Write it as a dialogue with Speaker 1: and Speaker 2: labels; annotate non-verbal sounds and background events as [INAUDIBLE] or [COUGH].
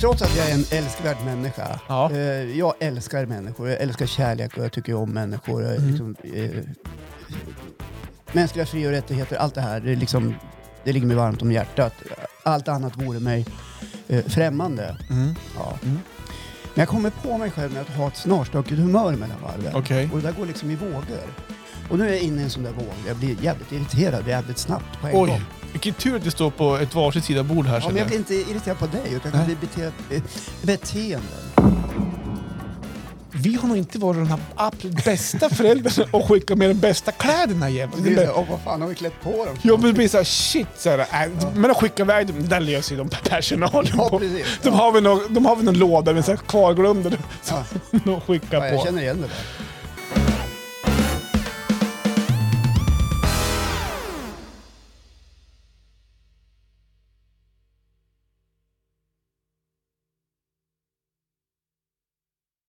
Speaker 1: trots att jag är en älskvärd människa.
Speaker 2: Ja.
Speaker 1: Eh, jag älskar människor, jag älskar kärlek och jag tycker om människor. Jag, är
Speaker 2: Mm.
Speaker 1: liksom, eh, mänskliga fri och rättigheter, allt det här, det, är liksom, det ligger mig varmt om hjärtat. Allt annat vore mig eh, främmande.
Speaker 2: Mm.
Speaker 1: Ja.
Speaker 2: Mm.
Speaker 1: Men jag kommer på mig själv med att ha ett snarstökigt humör mellan varven.
Speaker 2: Okej.
Speaker 1: Och det där går liksom i vågor. Och nu är jag inne i en sån där våg. Jag blir jävligt irriterad jävligt snabbt på en gång.
Speaker 2: Oj, vilken tur att vi står på ett varsitt sida bord här.
Speaker 1: Ja, men
Speaker 2: känner
Speaker 1: jag
Speaker 2: jag.
Speaker 1: blir inte irriterad på dig, utan jag
Speaker 2: Nej.
Speaker 1: blir bete- eh, beteenden.
Speaker 2: Vi har nog inte varit de här absolut bästa föräldrarna och skickat med de bästa kläderna jämt.
Speaker 1: Det är så här, "Åh, vad fan har vi klätt på dem?
Speaker 2: Jag blir blir såhär shit, så här, äh, men att skicka iväg dem, det där löser ju de per- personalen
Speaker 1: Ja,
Speaker 2: på.
Speaker 1: precis.
Speaker 2: De har väl någon, de har väl någon låda med så här kvarglömda som
Speaker 1: Ja.
Speaker 2: [LAUGHS] de skickar
Speaker 1: Ja, jag
Speaker 2: på.
Speaker 1: känner igen det där.